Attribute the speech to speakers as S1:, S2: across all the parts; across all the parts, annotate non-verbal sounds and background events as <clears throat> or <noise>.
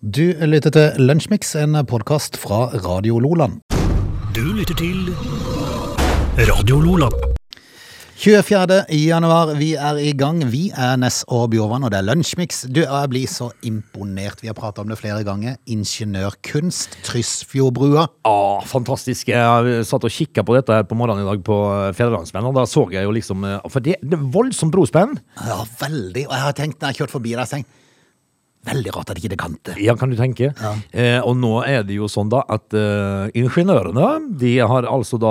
S1: Du lytter til Lunsjmix, en podkast fra Radio Loland.
S2: Du lytter til Radio Lola.
S1: 24. januar, vi er i gang. Vi er Ness og Bjorvann, og det er Lunsjmix. Du, jeg blir så imponert. Vi har prata om det flere ganger. Ingeniørkunst, Tysfjordbrua.
S3: Ja, fantastisk. Jeg satt og kikka på dette her på morgenen i dag på Fedrelandsmenn, og da så jeg jo liksom eh, For det det er voldsomt brospenn.
S1: Ja, veldig. Og jeg har tenkt når jeg har kjørt forbi der, så har jeg tenkt, veldig rart at ikke det kan det.
S3: Ja, kan du tenke. Eh, og nå er det jo sånn da at eh, ingeniørene de har altså da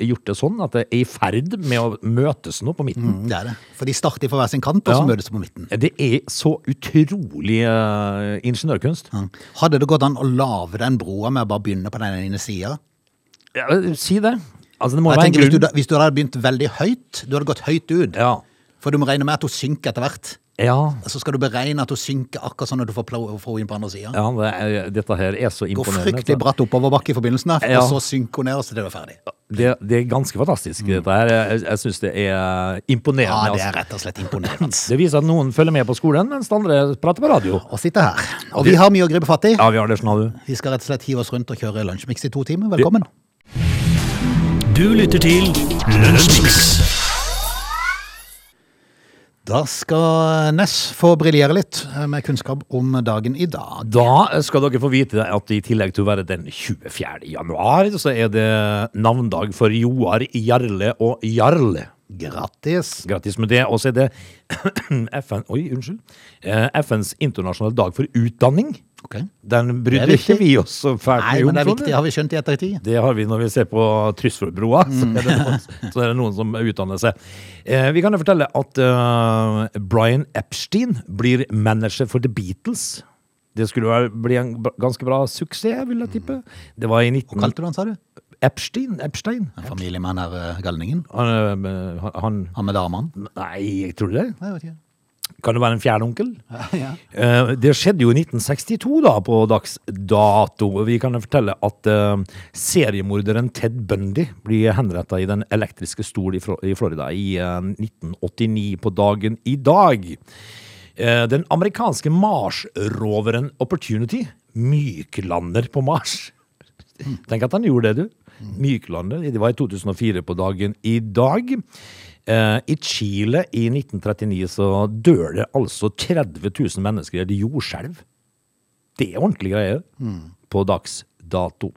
S3: gjort det sånn at det er i ferd med å møtes nå på midten.
S1: Mm, Det er det. For de starter fra hver sin kant, og så
S3: Ja.
S1: møtes de på midten.
S3: Det er så utrolig eh, ingeniørkunst.
S1: Mm. Hadde det gått an å lage den broa med å bare begynne på den ene sida?
S3: Ja, si det. Altså, det må
S1: Jeg
S3: være en
S1: tenker, hvis, du,
S3: grunn.
S1: da- hvis du hadde begynt veldig høyt, du hadde gått høyt ut.
S3: Ja.
S1: For du må regne med at hun synker etter hvert.
S3: ja.
S1: Så skal du beregne at hun synker akkurat sånn når du får plo- får henne inn på andre sida.
S3: ja det er, dette her er så
S1: Går
S3: imponerende. altså.
S1: fryktelig bratt oppoverbakke i forbindelsen, der,
S3: Ja.
S1: og så synker hun ned, og så er det ferdig.
S3: Det, det er ganske fantastisk, dette her. Jeg, jeg syns det er imponerende.
S1: Mm. Ja, det
S3: altså.
S1: er rett og slett imponerende.
S3: <laughs> det viser at noen følger med på skolen, mens de andre prater på radio.
S1: Å sitte her. Og vi har mye å gripe fatt i.
S3: Ja, vi har det sånn, har du.
S1: Vi skal rett og slett hive oss rundt og kjøre Lunsjmix i to timer. Velkommen.
S2: Du lytter til Lunsjmix.
S1: Da skal Ness få briljere litt med kunnskap om dagen i dag.
S3: Da skal dere få vite at i tillegg til å være den 24. januar, så er det navndag for Joar, Jarle og Jarl.
S1: Grattis.
S3: Grattis med det. Og så er det <clears throat> FN, oi, unnskyld. Eh, FNs internasjonale dag for utdanning.
S1: Ok.
S3: Den bryr
S1: Det er
S3: ikke vi oss så fælt
S1: Nei,
S3: mye om, sånn,
S1: men det er
S3: tror du?
S1: viktig, har vi skjønt i ettertid.
S3: Det har vi når vi ser på Tysfjordbroa. Så, er det noen- så er det noen som utdanner seg. Eh, vi kan jo fortelle at eh, Brian Epstein blir manager for The Beatles. Det skulle være, bli en b- ganske bra suksess, vil jeg tippe. Det var i 19...
S1: Kalte du han, sa du?
S3: Epstein? Epstein?
S1: Familiemann her, eh, galningen.
S3: Han, eh, han- han
S1: Han med damene.
S3: Nei, jeg tror det.
S1: Nei, jeg vet
S3: Kan det være en fjern onkel?
S1: ikke. <laughs> Ja.
S3: Eh, Det skjedde jo i 1962 da, på dags dato. Vi kan jo fortelle at eh, seriemorderen Ted Bundy blir henrettet i den elektriske stol i Fro- i Florida i eh, 1989 på dagen i dag. Eh, Den amerikanske Mars-roveren Opportunity myklander på Mars. Tenk at han gjorde det, du. Myklander. Det var i 2004 på dagen i dag. Eh, I Chile i 1939 så dør det altså 30 000 mennesker i et jordskjelv. Det er ordentlige greier på dags dato.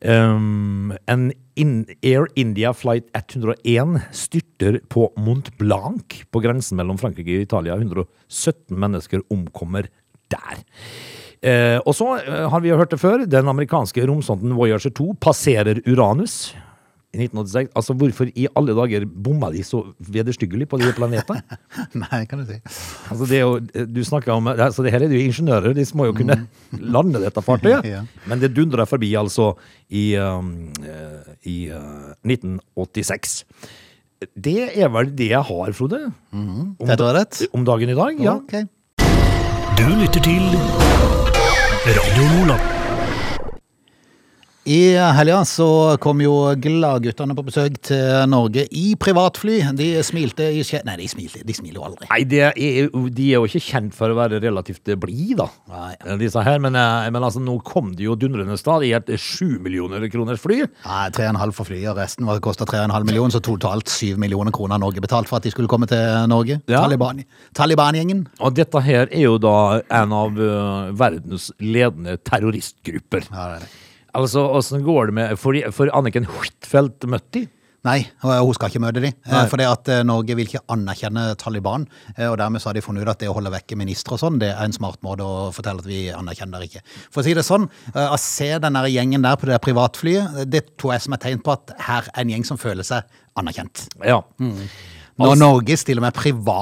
S3: Um, en in Air India Flight 101 styrter på Mont Blanc på grensen mellom Frankrike og Italia. 117 mennesker omkommer der. Eh, og så eh, har vi jo hørt det før, den amerikanske romsonden Voyager 2 passerer Uranus. I 1986. Altså, hvorfor i alle dager bomma de så vederstyggelig på de planetene?
S1: Nei, kan du si.
S3: Altså det er jo, du snakker om, altså det her er jo ingeniører, de må jo kunne <laughs> lande dette fartøyet.
S1: Mm. Ja.
S3: Men det dundrer forbi altså i, um, eh, i eh, 1986. Det er vel det jeg har, Frode, om,
S1: Det tror jeg er rett.
S3: om dagen i dag. Ja.
S1: Ok.
S2: Du lytter til Radio Lola.
S1: I helga så kom jo gladguttene på besøk til Norge i privatfly. De smilte i skje... Nei, de smilte, de smiler jo aldri.
S3: Nei, det er, jo- de er jo ikke kjent for å være relativt eh, blide, da.
S1: Nei.
S3: eh, Disse her, men, eh, men altså, nå kom de jo dundrende stadig i et sju millioner kroners fly.
S1: Nei, 3,5 for flyet, og resten var- kosta 3,5 millioner, så totalt 7 millioner kroner har Norge betalt for at de skulle komme til Norge.
S3: Ja.
S1: Taliban- Taliban-gjengen.
S3: Og dette her er jo da en av eh, verdens ledende terroristgrupper.
S1: Ja, det er det.
S3: Altså, åssen går det med For, for Anniken Huitfeldt møtte de?
S1: Nei, og hun skal ikke møte de.
S3: Nei.
S1: For det at eh, Norge vil ikke anerkjenne Taliban, eh, og dermed så har de funnet ut at det å holde vekke ministre og sånn, det er en smart måte å fortelle at vi anerkjenner dere ikke. For å si det sånn, eh, å se den der gjengen der på det der privatflyet, eh, det tror jeg som et tegn på at her er en gjeng som føler seg anerkjent.
S3: Ja.
S1: Mm. Når
S3: Altså-
S1: Norge stiller med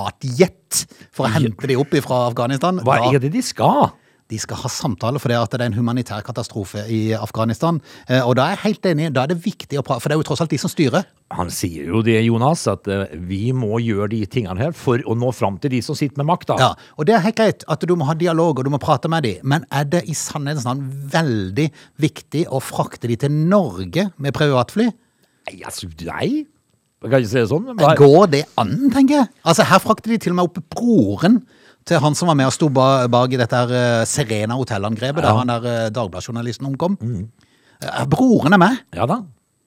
S1: privatjet for å hente de opp fra Afghanistan,
S3: Hva
S1: da
S3: er det de skal?
S1: de skal ha samtaler for det at det er en humanitær katastrofe i Afghanistan. Eh, Og da er jeg helt enig, da er det viktig å prate, for det er jo tross alt de som styrer.
S3: Han sier jo det, Jonas, at eh, vi må gjøre de tingene her for å nå fram til de som sitter med makta.
S1: Ja, og det er helt greit at du må ha dialog og du må prate med dem, men er det i sannhetens navn veldig viktig å frakte de til Norge med privatfly?
S3: Nei, altså, nei. Jeg kan ikke si det sånn. men hva-
S1: Går det an, tenker jeg? Altså, her frakter de til og med opp broren til han som var med og sto ba- bak i dette her eh, Serena-hotellangrepet,
S3: Ja.
S1: der han der eh, Dagbladet-journalisten omkom. Eh, Broren er med.
S3: Ja da.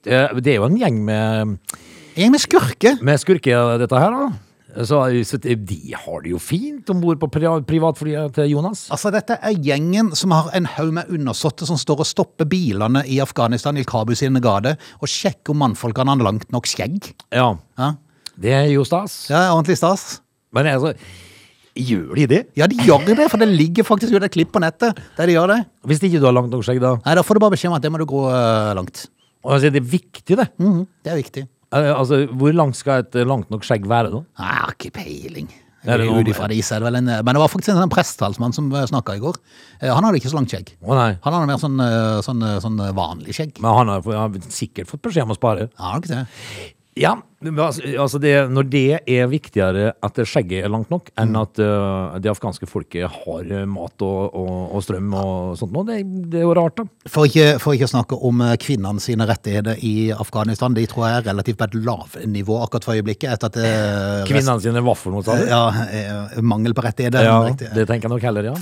S3: Det, det er jo en gjeng med,
S1: Jeg er med skurke.
S3: med skurker, dette her, da. Så, så de har det jo fint om bord på pri- privatflyet til Jonas.
S1: Altså, dette er gjengen som har en haug med undersåtte som står og stopper bilene i Afghanistan, i Kabul sine gate, og sjekker om mannfolkene har langt nok skjegg.
S3: Ja.
S1: Ja,
S3: Det er jo stas.
S1: det er ordentlig stas.
S3: Men altså, gjør de det?
S1: Ja, de gjør det, for det ligger faktisk ut et klipp på nettet der de gjør det.
S3: Hvis ikke du har langt nok skjegg, da?
S1: Nei, da får du bare beskjed om at det må du gå eh, langt.
S3: Og altså, det er viktig, det.
S1: Mhm, det er viktig.
S3: Eh, Altså, hvor langt skal et eh, langt nok skjegg være, da?
S1: Nei, jeg har Ah, ikke peiling.
S3: Er det noe-
S1: Ut ifra det, så er det vel en, men det var faktisk en sånn presttalsmann som snakka i går. Eh, Han hadde ikke så langt skjegg.
S3: Å nei.
S1: Han hadde mer sånn, eh, sånn, eh, sånn vanlig skjegg.
S3: Men han har, han har sikkert fått beskjed om å spare.
S1: Ja, har du ikke det?
S3: Ja, men altså, altså det, når det er viktigere at det skjegget er langt nok, enn at eh, det afghanske folket har eh, mat og, og, og strøm og sånt noe, det, det er jo rart, da.
S1: For ikke, for ikke å snakke om eh, kvinnene sine rettigheter i Afghanistan. De tror jeg er relativt på et lavnivå akkurat for øyeblikket. Etter at eh, rest-
S3: Kvinnene sine vafler nå, sa du?
S1: ja, eh, mangel på rettigheter.
S3: Ja,
S1: riktig.
S3: det tenker jeg nok heller, ja.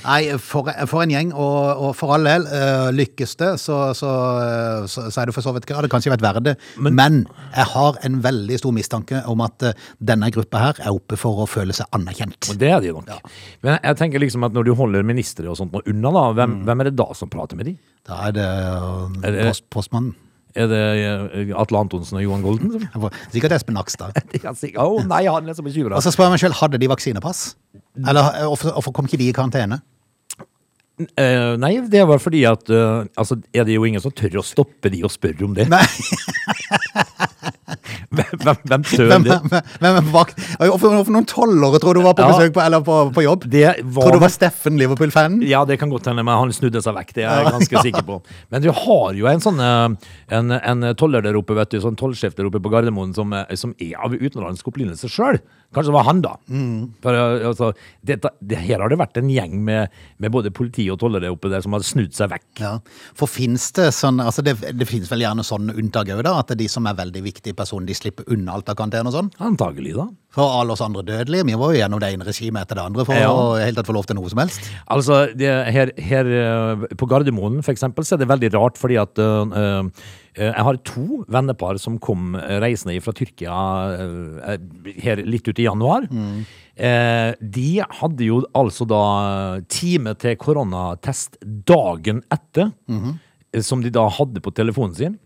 S1: Nei, for, for en gjeng, og, og for all del, eh, lykkes det, så, så, eh, så, så er det for så vidt greit. Det hadde kanskje vært verre det, men, jeg har en veldig stor mistanke om at eh, denne gruppa her er oppe for å føle seg anerkjent.
S3: Og det er de nok. Men jeg tenker liksom at når du holder ministre og sånt noe unna, da, hvem, hvem er det da som prater med de?
S1: Da er det eh,
S3: Er det-
S1: post, postmannen.
S3: Er det eh, Atle Antonsen og Johan Golden? som-
S1: Sikkert Espen Nakstad.
S3: Det kan si- Å nei, han er så bekymra.
S1: Og så spør jeg meg selv, hadde de vaksinepass? Eller eh, hvorfor hvorfor kom ikke de i karantene?
S3: Eh, nei, det var fordi at eh, Altså, er det jo ingen som tør å stoppe de og spørre om det?
S1: Nei.
S3: <laughs> hvem, hvem, hvem tør
S1: Hvem,
S3: det?
S1: hvem, hvem er på vakt? Og Hvorfor hvorfor noen tolvåre tror du var på
S3: Ja.
S1: besøk på, eller på, på jobb?
S3: Det var-
S1: Tror du var Steffen Liverpool-fanen?
S3: Ja, det kan godt hende, men han snudde seg vekk. Det er jeg ganske sikker på. Men du har jo en sånn eh, En, en toller der oppe, vet du, sånn tollsjef der oppe på Gardermoen som, eh, som er av utenlandsk opprinnelse sjøl. Kanskje det var han, da. For, eh, altså, dette, det, her har det vært en gjeng med, med både politi og tollere oppe der som har snudd seg vekk.
S1: Ja, for finnes det sånn, altså det, det finnes vel gjerne sånn unntak òg, da? At de som er veldig viktige personer, de slipper unna alt av karantene og sånn?
S3: Antagelig, da.
S1: For alle oss andre dødelige, vi var jo gjennom det ene regimet etter det andre for
S3: Ja.
S1: å i hele tatt få lov til noe som helst.
S3: Altså, det, her, her eh, på Gardermoen for eksempel, så er det veldig rart, fordi at eh, eh, jeg har to vennepar som kom reisende fra Tyrkia eh, eh, her litt ut i januar.
S1: Mm.
S3: Eh, de hadde jo altså da time til koronatest dagen etter,
S1: Mm-hmm.
S3: eh, som de da hadde på telefonen sin.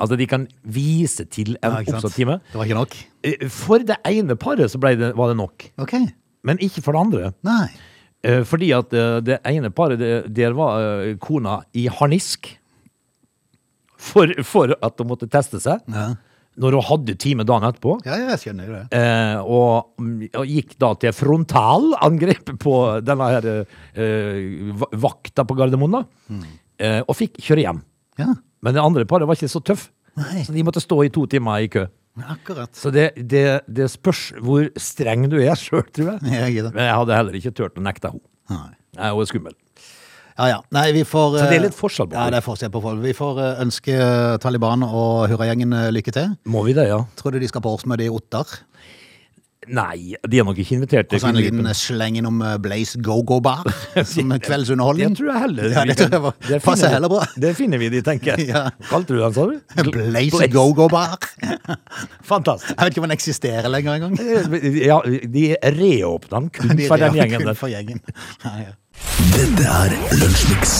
S3: Altså, de kan vise til en
S1: Ja, ikke sant?
S3: oppsatt time.
S1: Det var ikke nok?
S3: Eh, For det ene paret så ble det, var det nok,
S1: Ok.
S3: men ikke for det andre.
S1: Nei.
S3: Eh, Fordi at eh, det ene paret, det, der var eh, kona i harnisk for, for at hun måtte teste seg.
S1: Ja,
S3: Når hun hadde time dagen etterpå.
S1: ja jeg skjønner jo det.
S3: Eh, og, og gikk da til frontalangrep på denne her eh, va- vakta på Gardermoen, da.
S1: Mm.
S3: Eh, og fikk kjøre hjem.
S1: Ja,
S3: Men det andre paret var ikke så tøff,
S1: Nei.
S3: så de måtte stå i to timer i kø.
S1: akkurat. <laughs>
S3: Så det, det, det spørs hvor streng du er sjøl, tror jeg.
S1: Jeg gir det.
S3: Men jeg hadde heller ikke turt å nekte henne.
S1: Nei.
S3: Jeg er jo skummel.
S1: Ja, ja. Nei, vi får
S3: Så det er
S1: eh,
S3: litt forskjell på
S1: Ja,
S3: folk.
S1: det er forskjell på folk. Vi får eh, ønske eh, Taliban og Hurragjengen eh, lykke til.
S3: Må vi det, ja?
S1: Tror du de skal på årsmøte i Ottar?
S3: Nei, de er nok ikke invitert til
S1: Og så Altså, en liten
S3: kvinnegruppen.
S1: sleng innom eh, Blaze
S3: <laughs>
S1: Go-Go-bar som kveldsunderholdning.
S3: Det tror jeg heller.
S1: Ja,
S3: vi
S1: det
S3: kan-
S1: tror jeg var-
S3: Der finner
S1: passer
S3: vi-
S1: heller bra.
S3: Der finner vi de, tenker jeg.
S1: <laughs> Ja.
S3: Hva Kalte du den, sa du?
S1: Blaze Go-Go-bar.
S3: Fantastisk. Eh,
S1: Jeg vet ikke om den eksisterer lenger engang.
S3: Ja, de reåpna den kun
S1: <laughs> De
S3: for Mm. den
S1: rev
S3: gjengen
S1: kun
S3: der.
S1: For gjengen. Ja, ja.
S2: Dette er Lunsjmix.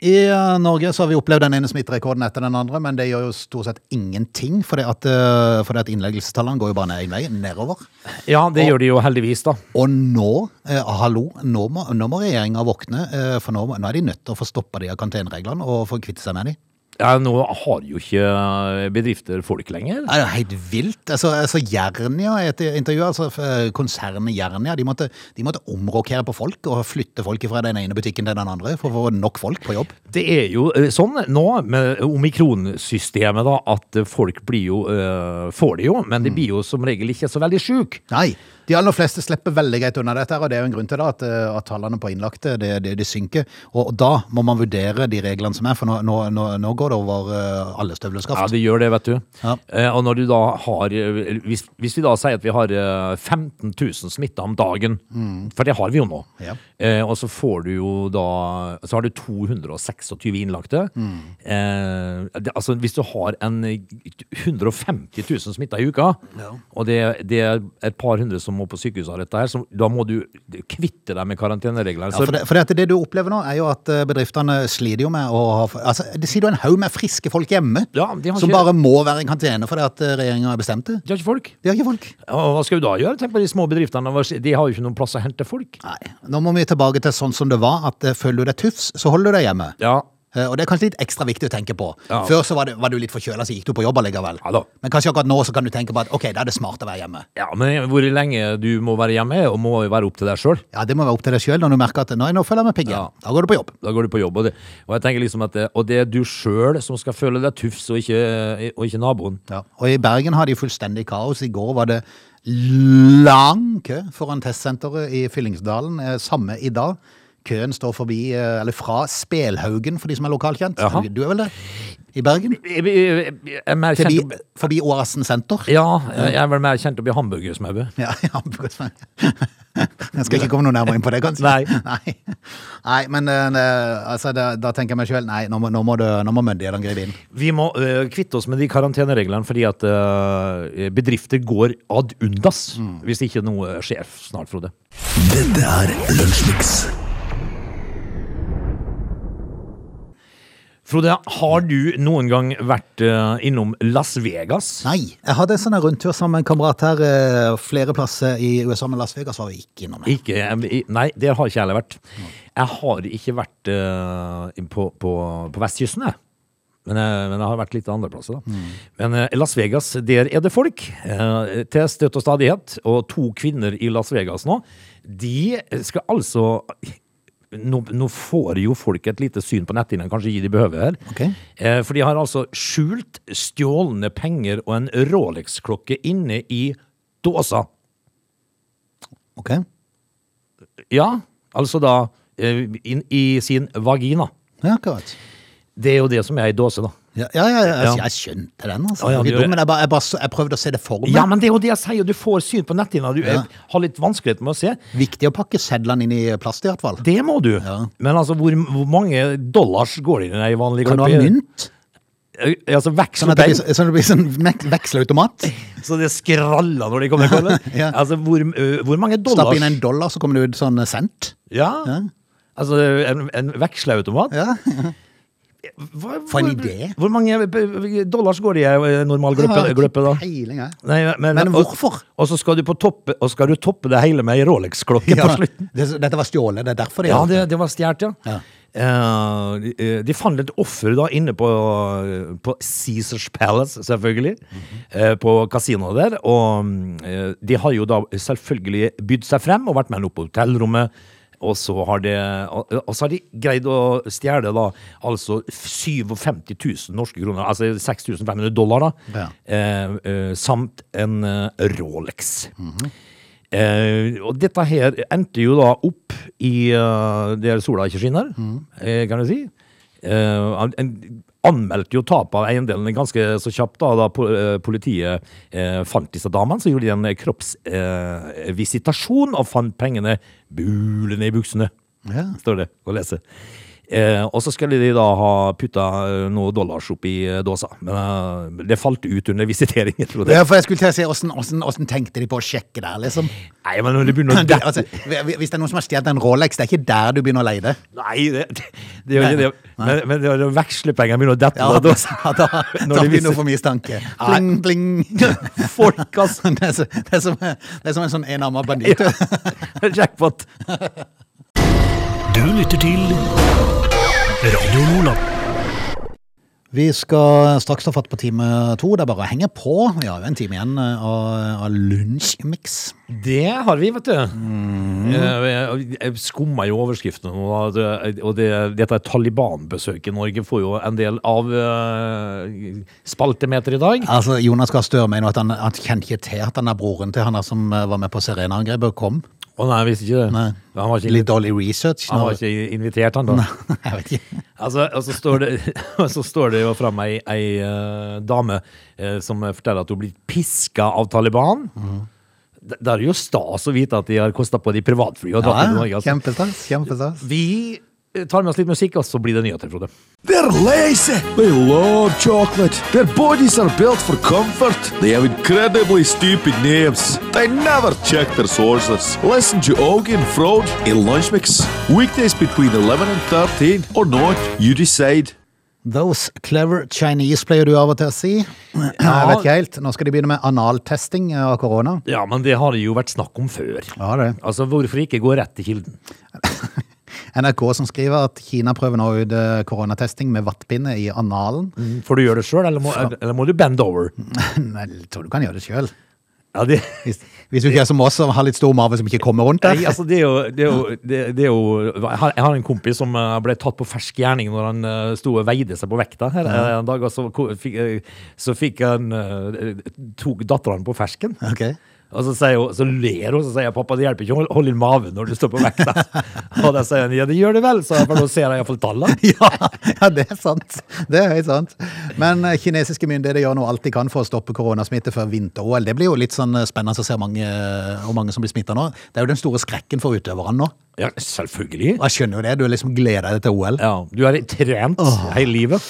S1: I eh, Norge så har vi opplevd den ene smitterekorden etter den andre, men det gjør jo stort sett ingenting, fordi at, eh, fordi at innleggelsestallene går jo bare ned i veien, nedover.
S3: Ja, det gjør de jo heldigvis, da.
S1: Og nå, eh, hallo, nå må, nå må regjeringa våkne, eh, for nå, må- nå er de nødt til å få stoppa de av karantenereglene og få kvitte seg med de.
S3: Ja, nå har jo ikke eh, bedrifter folk lenger.
S1: Nei, Det er helt vilt. Altså, altså Jernia, i et intervju, altså f- konsernet Jernia, de måtte, de måtte omrokere på folk og flytte folk fra den ene butikken til den andre for å få nok folk på jobb.
S3: Det er jo eh, sånn nå med
S1: Mm.
S3: omikronsystemet da, at eh, folk blir jo, eh, får det jo, men de blir jo som regel ikke så veldig syke.
S1: Nei. De aller fleste slipper veldig greit unna dette, her, og det er jo en grunn til det, at, eh, at tallene på innlagte det, det, det synker. Og da må man vurdere de reglene som er, for nå, nå, nå, nå går det over eh, alle
S3: Ja,
S1: støvleskaft.
S3: det gjør det, vet du.
S1: Ja.
S3: Eh, og når du da har eh, hvis, hvis vi da sier at vi har eh, 15 000 smitta om dagen, for det har vi jo nå,
S1: Mm. Ja.
S3: eh, og så får du jo da Så har du 226 innlagte.
S1: Mm.
S3: Eh, det, altså hvis du har en eh, 150 000 smitta i uka,
S1: Ja.
S3: og det, det er et par hundre som må på sykehuset av dette her, så da må du kvitte deg med karantenereglene.
S1: Ja, for det, for det, at det du opplever nå, er jo at eh, bedriftene sliter jo med å ha altså, Det sier du en haug med friske folk hjemme,
S3: Ja, de har
S1: som
S3: ikke-
S1: bare må være i karantene fordi at regjeringa har bestemt det.
S3: de har ikke folk.
S1: De har ikke folk.
S3: Og hva skal du da gjøre? Tenk på de små bedriftene. De har jo ikke noen plass å hente folk.
S1: Nei. Nå må vi tilbake til sånn som det var, at eh, føler du deg tufs, så holder du deg hjemme.
S3: Ja,
S1: Eh, Og det er kanskje litt ekstra viktig å tenke på.
S3: Ja.
S1: Før så var, det, var du litt forkjøla, så gikk du på jobb allikevel.
S3: Ja da.
S1: Men kanskje akkurat nå så kan du tenke på at ok, da er det smart å være hjemme.
S3: Ja, men hvor lenge du må være hjemme, og må jo være opp til deg sjøl.
S1: Ja, Det må være opp til deg sjøl når du merker at nei, nå føler jeg meg pigg. igjen.
S3: Ja.
S1: Da går du på jobb.
S3: Da går du på jobb. Og det, og jeg tenker liksom at det, og det er du sjøl som skal føle deg tufs, og ikke, og ikke naboen.
S1: Ja. Og i Bergen har de fullstendig kaos. I går var det lang kø foran testsenteret i Fyllingsdalen. eh, Samme i dag. Køen står forbi, eh, eller fra Spelhaugen, for de som er lokalkjent.
S3: Jaha.
S1: Du er vel det? I Bergen?
S3: Jeg, jeg, jeg er mer
S1: Forbi,
S3: kjent opp,
S1: forbi Oasen senter.
S3: ja, jeg er vel mer kjent opp i hamburgersmauet.
S1: Ja, <laughs> ja. Jeg skal ikke komme noe nærmere inn på det, kanskje.
S3: Nei.
S1: Nei, nei men eh, altså, da, da tenker jeg meg sjøl Nei, nå må, nå må, du- nå må myndighetene gripe inn.
S3: Vi må eh, kvitte oss med de karantenereglene fordi at eh, bedrifter går ad undas hvis ikke noe skjer snart, Frode.
S2: Dette er Lunsjmix.
S3: Frode, har du noen gang vært eh, innom Las Vegas?
S1: Nei. Jeg hadde en sånn rundtur sammen med en kamerat her. eh, Flere plasser i USA, men Las Vegas var vi ikke innom. det.
S3: Ikke, jeg- nei, det har ikke jeg heller vært. Jeg har ikke vært eh, på, på, på vestkysten, jeg. Men, jeg- men jeg har vært litt andre plasser, da. Men eh, Las Vegas, der er det folk. eh, til støtt og stadighet. Og to kvinner i Las Vegas nå, de skal altså nå, nå får jo folk et lite syn på netthinnen, kanskje ikke de behøver her.
S1: Ok.
S3: Eh, For de har altså skjult stjålne penger og en Rolex-klokke inne i dåsa.
S1: Ok.
S3: Ja, altså da eh, inn i sin vagina.
S1: Ja, akkurat.
S3: Det er jo det som er i dåse, da.
S1: Ja, ja, ja, jeg,
S3: Ja.
S1: jeg skjønte den, altså.
S3: Ja, ja,
S1: Det var ikke
S3: du-
S1: dum, men jeg, bare, jeg, bare, så- jeg prøvde å se det for meg.
S3: Ja, men det er jo det jeg sier, du får syn på netthinna. Du
S1: Ja.
S3: eh, har litt vanskelighet med å se.
S1: Viktig å pakke sedlene inn i plast, i hvert fall.
S3: Det må du.
S1: Ja.
S3: Men altså, hvor, hvor mange dollars går det inn i ei vanlig
S1: Kan du ha
S3: kopi?
S1: mynt?
S3: Eh, Altså,
S1: Sånn
S3: veksel
S1: at det blir, sånn at det blir sånn mek- vekselautomat?
S3: så det skraller når de kommer. kommer.
S1: Ja.
S3: Altså, hvor, eh, hvor mange dollars
S1: Stapp inn en dollar, så kommer det ut sånn cent?
S3: Ja.
S1: Ja.
S3: Altså, en, en veksleautomat?
S1: Ja. <laughs>
S3: Hva-
S1: For en
S3: hvor-
S1: idé.
S3: Hvor mange eh, dollars går det i ei normal gløppe,
S1: Jeg har
S3: gløppe da?
S1: Peiling, jeg.
S3: Nei, men,
S1: Men
S3: og-
S1: hvorfor?
S3: Og så skal du, på toppe, og skal du toppe det hele med ei Rolex-klokke
S1: Ja,
S3: på slutten.
S1: det- Dette var stjålet, det er derfor det
S3: Ja, det, det var stjålet, ja.
S1: Ja.
S3: Eh, de, de fant et offer da inne på, på Caesars Palace, selvfølgelig. eh, på kasinoet der. Og eh, de har jo da selvfølgelig bydd seg frem og vært med henne opp på hotellrommet. Og så har de, og, og så har de greid å stjele da altså 57 000 norske kroner, altså 6500 dollar, da.
S1: Ja.
S3: eh, eh, samt en eh, Rolex. Eh, og dette her endte jo da opp i eh, der sola ikke skinner,
S1: Mm.
S3: eh, kan du si. Eh, han- en, anmeldte jo tapet av eiendelene ganske så kjapt da, da po- eh, politiet eh, fant disse damene. Så gjorde de en kroppsvisitasjon eh, visitasjon og fant pengene bulende i buksene,
S1: Ja.
S3: står det å lese. Eh, og så skulle de da ha putta eh, noe dollars oppi eh, dåsa. Men eh, det falt ut under visiteringen, tror jeg.
S1: Ja, for jeg skulle til å si, hvordan, hvordan, hvordan tenkte de på å sjekke der, liksom?
S3: Nei, men når det begynner å
S1: <laughs> Det, altså, hvis det er noen som har stjålet en Rolex, det er ikke der du begynner å leie det.
S3: Nei, det, det, det gjør ikke det. Men, men det, det vekslepengene begynner å
S1: Ja,
S3: dette. da,
S1: da,
S3: da.
S1: da,
S3: <laughs> Når
S1: da begynner
S3: de
S1: du å
S3: viser-
S1: få mistanke. Pling, pling.
S3: <laughs> Folk,
S1: <laughs>
S3: altså!
S1: Det er, så, det, er som, det er som en sånn enarma banditt.
S3: Ja. Jackpot.
S2: Du lytter til Radio Lola.
S1: Vi skal straks ta fatt på time to. Det er bare å henge på. Vi har jo en time igjen eh, av, av lunsjmix.
S3: Det har vi, vet du.
S1: Mm.
S3: Eh, Jeg jeg skummer jo overskriftene nå, da, det- og det, dette Taliban-besøket i Norge får jo en del av eh, spaltemeter i dag.
S1: Altså, Jonas Gahr Støre mener at han, han kjenner ikke til at han er broren til han der som eh, var med på Serena-angrepet og kom.
S3: Å nei, jeg visste ikke det.
S1: Nei.
S3: Han var ikke,
S1: Litt dårlig research.
S3: han
S1: Nå.
S3: var ikke invitert, han da.
S1: <laughs> Jeg vet ikke.
S3: Altså, og så står det, <laughs> og så står det jo fram ei, ei eh, dame eh, som forteller at hun blir piska av Taliban. Det, det er jo stas å vite at de har kosta på de privatfly og dratt til Norge.
S1: Ja,
S3: Altså.
S1: kjempestas. kjempestas.
S3: Vi eh, tar med oss litt musikk, og så blir det nyheter, Frode.
S2: They're lazy. They love chocolate. Their bodies are built for comfort. They have incredibly stupid names. They never check their sources. Listen to Augie and Frode in Lunch Mix. Weekdays between 11 and 13 or not, you decide.
S1: Those clever Chinese pleier du av og til å si. Jeg vet ikke helt. Nå skal de begynne med analtesting eh, av korona.
S3: Ja, men det har det jo vært snakk om før.
S1: Ja, det.
S3: Altså, hvorfor ikke gå rett til kilden?
S1: NRK som skriver at Kina prøver nå ut eh, koronatesting med vattpinne i analen.
S3: Får du gjøre det sjøl, eller, må- eller må du bend over? Mm.
S1: <laughs> Nei, Jeg tror du kan gjøre det sjøl.
S3: Ja, det,
S1: Hvis, hvis du ikke er som oss som har litt stor mage som ikke kommer rundt
S3: Nei,
S1: der.
S3: altså det er jo, det er jo, det, det er jo jeg, har, jeg har en kompis som eh, ble tatt på fersk gjerning når han eh, sto og veide seg på vekta her eh, en dag, og så ko- fikk, eh, så fikk han eh, tok datteren på fersken.
S1: <laughs> Ok.
S3: Og så, sier hun, så ler hun og sier jeg, pappa, det hjelper ikke å holde- holde inn maven når du står på vekta. <laughs> og da sier han ja, det gjør det vel, så for nå ser jeg iallfall tallene.
S1: <laughs> Ja, ja, det er sant. Det er høyt sant. Men eh, kinesiske myndigheter gjør nå alt de kan for å stoppe koronasmitte før vinter-OL. Det blir jo litt sånn eh, spennende å se hvor mange, hvor mange som blir smitta nå. Det er jo den store skrekken for utøverne nå.
S3: Ja, selvfølgelig.
S1: Og jeg skjønner jo det. Du liksom gleder deg til OL.
S3: Ja, du er trent hele livet.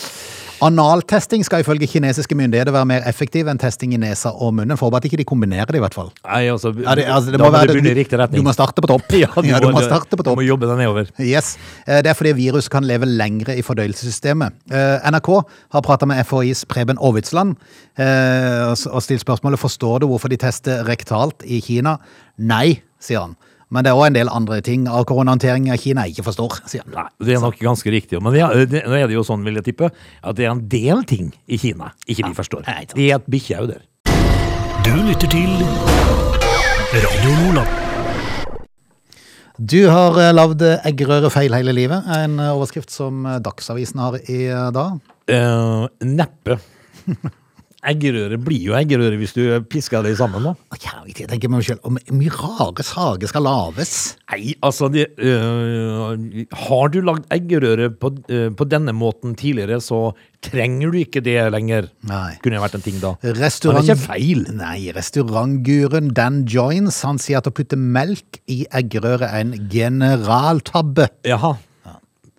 S1: Analtesting skal ifølge kinesiske myndigheter være mer effektiv enn testing i nesa og munnen. Forberedt ikke de kombinerer det, i hvert fall.
S3: Nei, altså,
S1: Ja, det, altså, det
S3: da
S1: må
S3: må
S1: være,
S3: du begynne i riktig retning.
S1: Du må starte på topp.
S3: <laughs> ja, du,
S1: du
S3: må,
S1: må starte på
S3: du
S1: topp.
S3: må jobbe deg nedover.
S1: Yes. Eh, Det er fordi virus kan leve lengre i fordøyelsessystemet. Eh, NRK har prata med FHIs Preben Aavitsland eh, og s- og stilt spørsmålet forstår du hvorfor de tester rektalt i Kina. Nei, sier han. Men det er òg en del andre ting av koronahåndteringen i Kina jeg ikke forstår, sier han.
S3: Nei, det er nok ganske riktig. Men ja, det, nå er det jo sånn, vil jeg tippe, at det er en del ting i Kina ikke de forstår.
S1: nei, sant.
S3: De er et bikkjeauder.
S4: Du lytter til Radio Lola.
S1: Du har eh, lagd eggerøre feil hele livet, er en eh, overskrift som eh, Dagsavisen har i eh, dag.
S3: Uh, neppe. <laughs> Eggerøre blir jo eggerøre hvis du pisker det sammen, da.
S1: Å, kjære tid, jeg tenker meg selv om mye rare saker skal lages.
S3: Nei, altså det, øh, Har du lagd eggerøre på, øh, på denne måten tidligere, så trenger du ikke det lenger.
S1: Nei.
S3: Kunne jo vært en ting, da.
S1: Restaurant...
S3: Men det er ikke feil.
S1: Nei, restaurantguren Dan Joins, han sier at å putte melk i eggerøre er en generaltabbe.
S3: Jaha.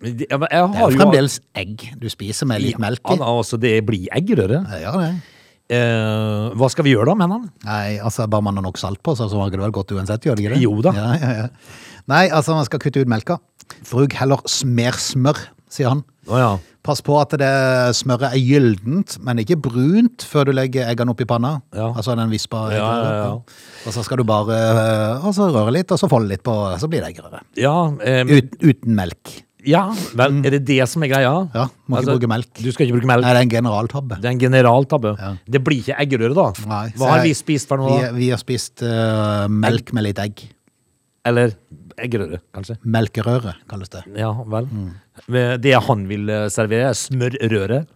S3: Men det- Jeg, jeg har
S1: Det er jo
S3: jo-
S1: fremdeles egg du spiser med litt melk
S3: Ja,
S1: i.
S3: altså, det blir eggerøre.
S1: Ja, det.
S3: Eh, hva skal vi gjøre da, mener han?
S1: Nei, altså, bare man har nok salt på, så så smaker det vel godt uansett, gjør det ikke det?
S3: Jo da.
S1: Ja, ja, ja. Nei, altså, man skal kutte ut melka. Bruk heller mer smør, sier han.
S3: Å ja.
S1: Pass på at det smøret er gyldent, men ikke brunt før du legger eggene opp i panna.
S3: Ja.
S1: Altså den vispa.
S3: Ja, ja, ja.
S1: Og så skal du bare øh, og så røre litt, og så folde litt på, så blir det eggerøre.
S3: Ja, eh,
S1: Ut, uten melk.
S3: ja, vel, er det det som er greia? Altså,
S1: Ja, må ikke bruke melk.
S3: Du skal ikke bruke melk.
S1: Nei, det er en generaltabbe.
S3: Det er en generaltabbe.
S1: Ja.
S3: Det blir ikke eggerøre, da.
S1: Nei, så
S3: Hva har
S1: jeg-
S3: vi spist for noe?
S1: Vi, vi har spist øh, melk med litt egg.
S3: Eller eggerøre, kanskje.
S1: Melkerøre, kalles det.
S3: Ja, vel.
S1: Mm.
S3: Men Det han vil eh, servere, er smørrøre.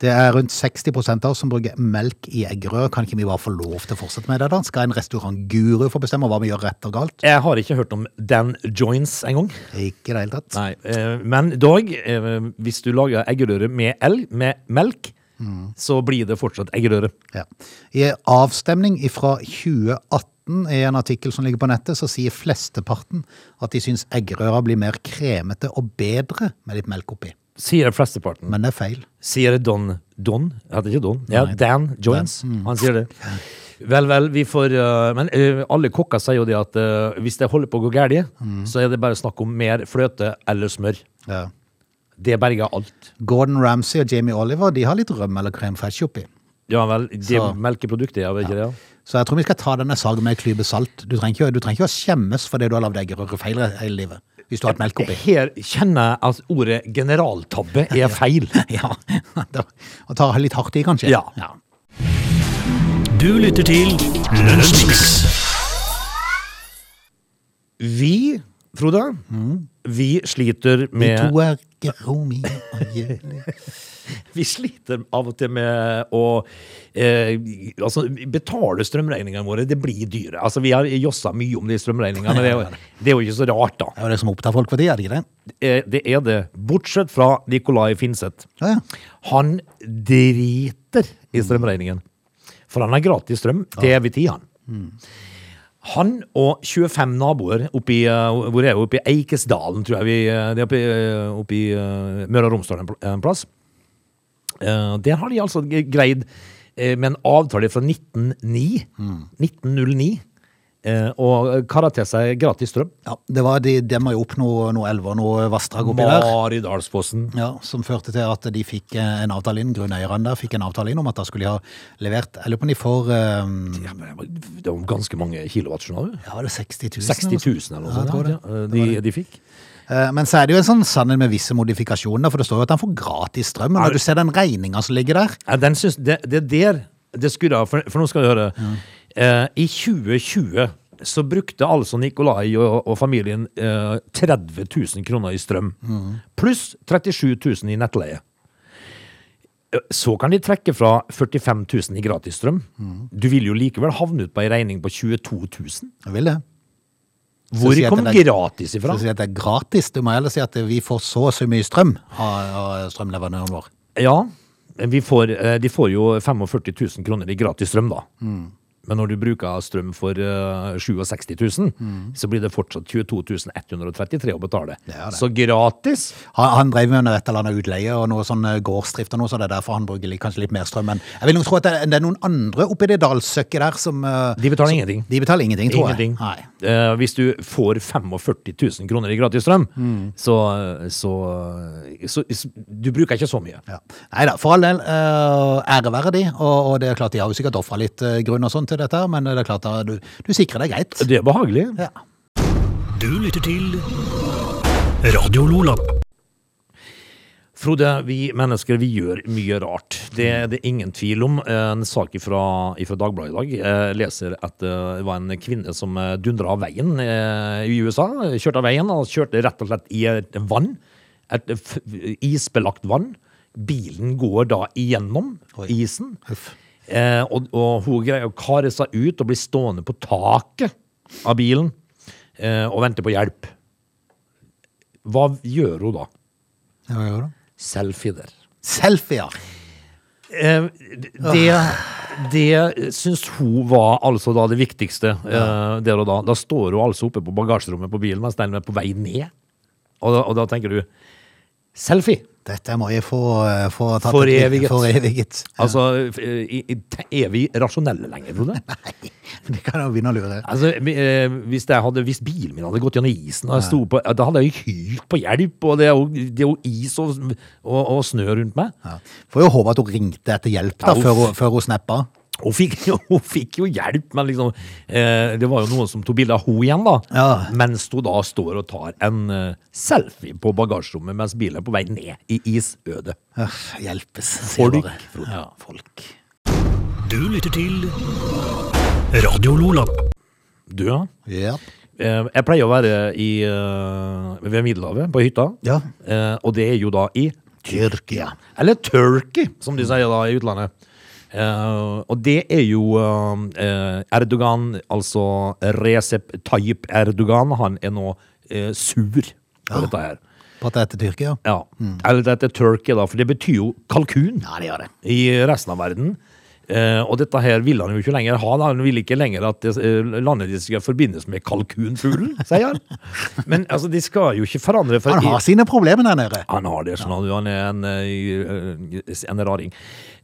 S1: Det er rundt 60 av oss som bruker melk i eggerøre. Kan ikke vi bare få lov til å fortsette med det, da? Skal en restaurantguru få bestemme hva vi gjør rett og galt?
S3: Jeg har ikke hørt om Dan Joins engang.
S1: Ikke i det hele tatt.
S3: Nei, eh, men dog, eh, hvis du lager eggerøre med, el, med melk,
S1: Mm.
S3: så blir det fortsatt eggerøre.
S1: Ja. I avstemning fra 2018 i en artikkel som ligger på nettet, så sier flesteparten at de syns eggerøra blir mer kremete og bedre med litt melk oppi.
S3: Sier flesteparten.
S1: Men det er feil.
S3: Sier Don Don? Heter ikke Don? Ja, Dan Jones. Han sier det. Vel, vel, vi får øh, Men øh, alle kokker sier jo det at øh, hvis det holder på å gå galt,
S1: Mm.
S3: så er det bare snakk om mer fløte eller smør.
S1: Ja.
S3: Det berger alt.
S1: Gordon Ramsay og Jamie Oliver de har litt rømme eller crème fraiche oppi.
S3: Ja vel. Det
S1: Så-
S3: melkeproduktet, ja, vet ikke det? ja.
S1: Så jeg tror vi skal ta denne saken med en klype salt. Du trenger ikke, du trenger ikke å skjemmes for det du har lagd eggerøre feil hele livet. hvis du har hatt melk oppi. <laughs>
S3: Her kjenner jeg at ordet generaltabbe er feil.
S1: Ja, da- Og ta litt hardt i, kanskje?
S3: Ja.
S4: Du lytter til Lunsjmix.
S3: Vi, Frode, vi sliter
S1: Mm. De
S3: med
S1: to er geromi og jævlig.
S3: Vi sliter av og til med å eh, altså, betale strømregningene våre. Det blir dyre. Altså, vi har jossa mye om de strømregningene. men Det er, jo, det er jo ikke så rart, da.
S1: Det er jo det som opptar folk for tida, er det ikke det?
S3: Eh, Det er det. Bortsett fra Nikolai Finseth.
S1: Ja, ja.
S3: Han driter i strømregningen. For han har gratis strøm til evig tid, han.
S1: Mm.
S3: Han og 25 naboer oppi, eh, hvor er vi? oppi Eikesdalen, tror jeg vi eh, Det er oppi, eh, oppi eh, Møre og Romsdal en pl- en plass. Eh, Der har de altså g- greid eh, med en avtale fra 1909,
S1: Mm.
S3: 1909 eh, å karre til seg gratis strøm.
S1: Ja, det var de demma jo opp noe, noe elver, noe vassdrag oppi der.
S3: Maridalsfossen.
S1: Ja, Som førte til at de fikk eh, en avtale inn, grunneierne der fikk en avtale inn om at da skulle de ha levert Jeg lurer på om de får eh,
S3: Ja, men det var- det var ganske mange kilowatt, skjønner du.
S1: ja, var det 60 000?
S3: 60 000 eller noe
S1: Ja, jeg
S3: sånt.
S1: tror det.
S3: ja, De, de fikk.
S1: Eh, Men så er det jo en sånn sannhet med visse modifikasjoner, for det står jo at han får gratis strøm. Men
S3: Ja.
S1: når du ser den regninga som ligger der
S3: Ja, den syns, det, det der det skurra, for, for nå skal du høre. Eh, I 2020 så brukte altså Nikolai og, og familien eh, 30 000 kroner i strøm. Pluss 37 000 i nettleie. Eh, Så kan de trekke fra 45 000 i gratisstrøm. Du vil jo likevel havne ut på ei regning på 22 000.
S1: Jeg vil det.
S3: Hvor
S1: si at
S3: kom
S1: det er-
S3: gratis
S1: Så
S3: ifra?
S1: å si at det er gratis. Du må heller si at vi får så og så mye strøm av av strømleverandøren vår.
S3: Ja, vi får, eh, de får jo 45 000 kroner i gratis strøm, da.
S1: Mm.
S3: Men når du bruker strøm for eh, 67 000, så blir det fortsatt 22 133 å betale.
S1: Mm. Det er det.
S3: Så gratis
S1: Han, han drev med et eller annet utleie og noe sånn eh, gårdsdrift og noe, så det er derfor han bruker litt, kanskje litt mer strøm. Men jeg vil nok tro at det, er- det er noen andre oppi det dalsøkket der som eh,
S3: De betaler ingenting.
S1: De betaler ingenting, tror
S3: Ingenting.
S1: jeg. Nei.
S3: Eh, hvis du får 45 000 kroner i gratis strøm,
S1: Mm.
S3: så, så, så, så Du bruker ikke så mye.
S1: Ja. Nei da, for all del. eh, ære være de. Og, og det er klart de har jo sikkert ofra litt eh, grunn og sånn til dette, her, men det er klart at du, du sikrer deg greit.
S3: Det er behagelig.
S1: Ja.
S4: Du lytter til Radio Lola.
S3: Frode, vi mennesker vi gjør mye rart. Det er det ingen tvil om. En sak fra Dagbladet i dag. Jeg leser at eh, det var en kvinne som dundra av veien eh, i USA. Kjørte av veien og kjørte rett og slett i et vann. Et f- isbelagt vann. Bilen går da igjennom
S1: Oi.
S3: isen. Eh, og, og hun greier å kare seg ut og blir stående på taket av bilen eh, og vente på hjelp. Hva gjør hun da?
S1: Ja, ja, ja.
S3: Selfie-der.
S1: Selfier!
S3: Eh, det, det syns hun var altså da det viktigste eh, der og da. Da står hun altså oppe på bagasjerommet på bilen mens den er på vei ned. Og da, og da tenker du selfie.
S1: Dette må jeg få, eh, få tatt et
S3: Foreviget.
S1: bilde- Foreviget.
S3: Altså, eh, i, i, er vi rasjonelle lenger, Frode?
S1: Nei, <laughs> det kan jo begynne å lure.
S3: Altså, vi- eh, hvis, jeg hadde, hvis bilen min hadde gått gjennom isen, og jeg sto på, da hadde jeg jo hylt på hjelp. Og det er jo, det er jo is og, og, og snø rundt meg.
S1: Ja. Får jo håpe at hun ringte etter hjelp da,
S3: Ja, uff.
S1: før, hun, før hun snappa.
S3: Hun fikk, <laughs> jo- hun fikk jo hjelp, men liksom, eh, det var jo noen som tok bilde av henne igjen, da.
S1: Ja.
S3: Mens hun da står og tar en eh, selfie på bagasjerommet mens bilen er på vei ned i isødet.
S1: Uff, Hjelpes. sier
S3: Folk,
S1: bare.
S3: Frode.
S1: Ja, folk.
S4: Du lytter til Radio Lola.
S3: Du, ja.
S1: Ja.
S3: Eh, jeg pleier å være i, eh, ved Middelhavet, på hytta.
S1: Ja.
S3: Eh, og det er jo da i
S1: Tyrkia.
S3: Eller Turkey, som de sier da i utlandet. Eh, og det er jo eh, Erdogan, altså Recep Tayyip Erdogan, han er nå eh, sur på dette her.
S1: På at det heter Tyrkia?
S3: Ja. Eller dette turkey, da, for det betyr jo kalkun
S1: Mm. Ja, det gjør det.
S3: i resten av verden. Eh, og dette her vil han jo ikke lenger ha. da. Han vil ikke lenger at det, eh, landet ditt skal forbindes med kalkunfuglen,
S1: <laughs>
S3: sier han. Men altså, de skal jo ikke forandre for
S1: Han har sine problemer der nede.
S3: han har det, sånn. Han er en, eh, en raring.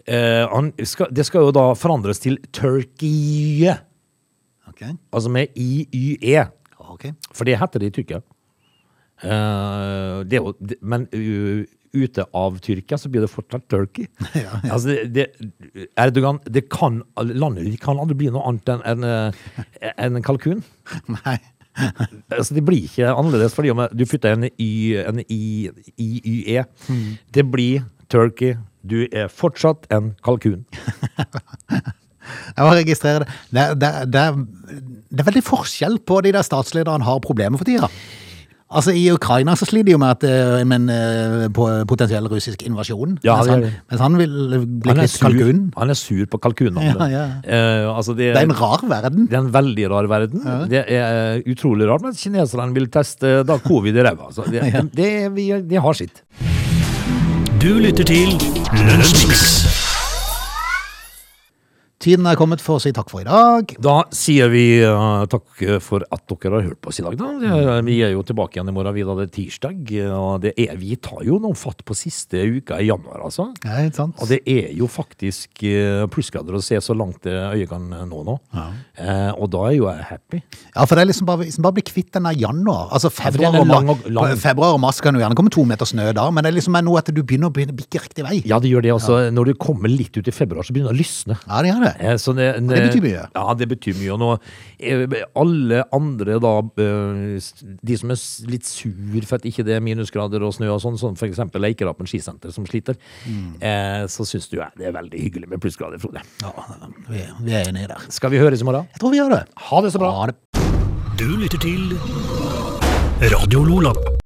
S3: Eh, han skal, det skal jo da forandres til Turkey,
S1: Ok,
S3: altså med E. IYE.
S1: ok.
S3: For det heter det i Tyrkia. Eh, det er jo, det, men u- ute av Tyrkia så blir det fortsatt
S1: <laughs>
S3: Turkey. Altså det, det, Erdogan, det kan, landet ditt kan aldri bli noe annet enn en, en eh, kalkun.
S1: <laughs> Nei.
S3: altså, det blir ikke annerledes, fordi om jeg- du flytter en Y, en I, IYE.
S1: Mm.
S3: Det blir turkey. Du er fortsatt en kalkun.
S1: Jeg må registrere det. Det, det, det. det er veldig forskjell på de der statslederne har problemer for tida. Altså I Ukraina så sliter de jo med at, eh, men, eh, på potensiell russisk invasjon.
S3: Ja,
S1: mens,
S3: det gjør
S1: han,
S3: de.
S1: mens han vil bli
S3: Han er
S1: kvitt
S3: sur,
S1: kalkunen.
S3: han er sur på kalkunnavnet.
S1: Ja, ja.
S3: Eh, altså, det,
S1: Det er en rar verden.
S3: Det er en veldig rar verden. Det er eh, utrolig rart, men kineserne vil teste eh, da covid i ræva. Så det, det, vi, de har sitt.
S4: Du lytter til Lunsjmix.
S1: Tiden er kommet for å si takk for i dag.
S3: Da sier vi eh, takk for at dere har hørt på oss i dag. Da. Det- Vi er jo tilbake igjen i morgen. Vi da det er tirsdag. eh, Og det er, vi tar jo noen fatt på siste uka i januar, altså.
S1: Ja, ikke sant?
S3: Og det er jo faktisk eh, plussgrader å se så langt det øyet kan nå nå. Eh, og da er jo jeg happy.
S1: Ja, for det er liksom bare, liksom bare bli kvitt denne januar. Altså
S3: for den
S1: februar,
S3: er
S1: og, ma-
S3: lang og- lang.
S1: februar og mars kan jo gjerne komme to meter snø da, men det er liksom nå at du begynner å begynne å bikke riktig vei.
S3: Ja, det gjør det. Altså, Når du kommer litt ut i februar, så begynner det å lysne.
S1: Ja, det gjør det.
S3: Eh, Så det,
S1: det betyr mye.
S3: Ja, det betyr mye. Og nå, eh, alle andre da, eh, s- de som er s- litt sur for at ikke det er minusgrader og snø og sånn, som for eksempel Eikerapen skisenter som sliter,
S1: Mm.
S3: eh, så syns du ja, det er veldig hyggelig med plussgrader, Frode.
S1: Ja, vi, vi er enige der.
S3: Skal vi høres i morgen?
S1: Jeg tror vi gjør det.
S3: Ha det så bra.
S1: Ha det.
S4: Du lytter til Radio Lola.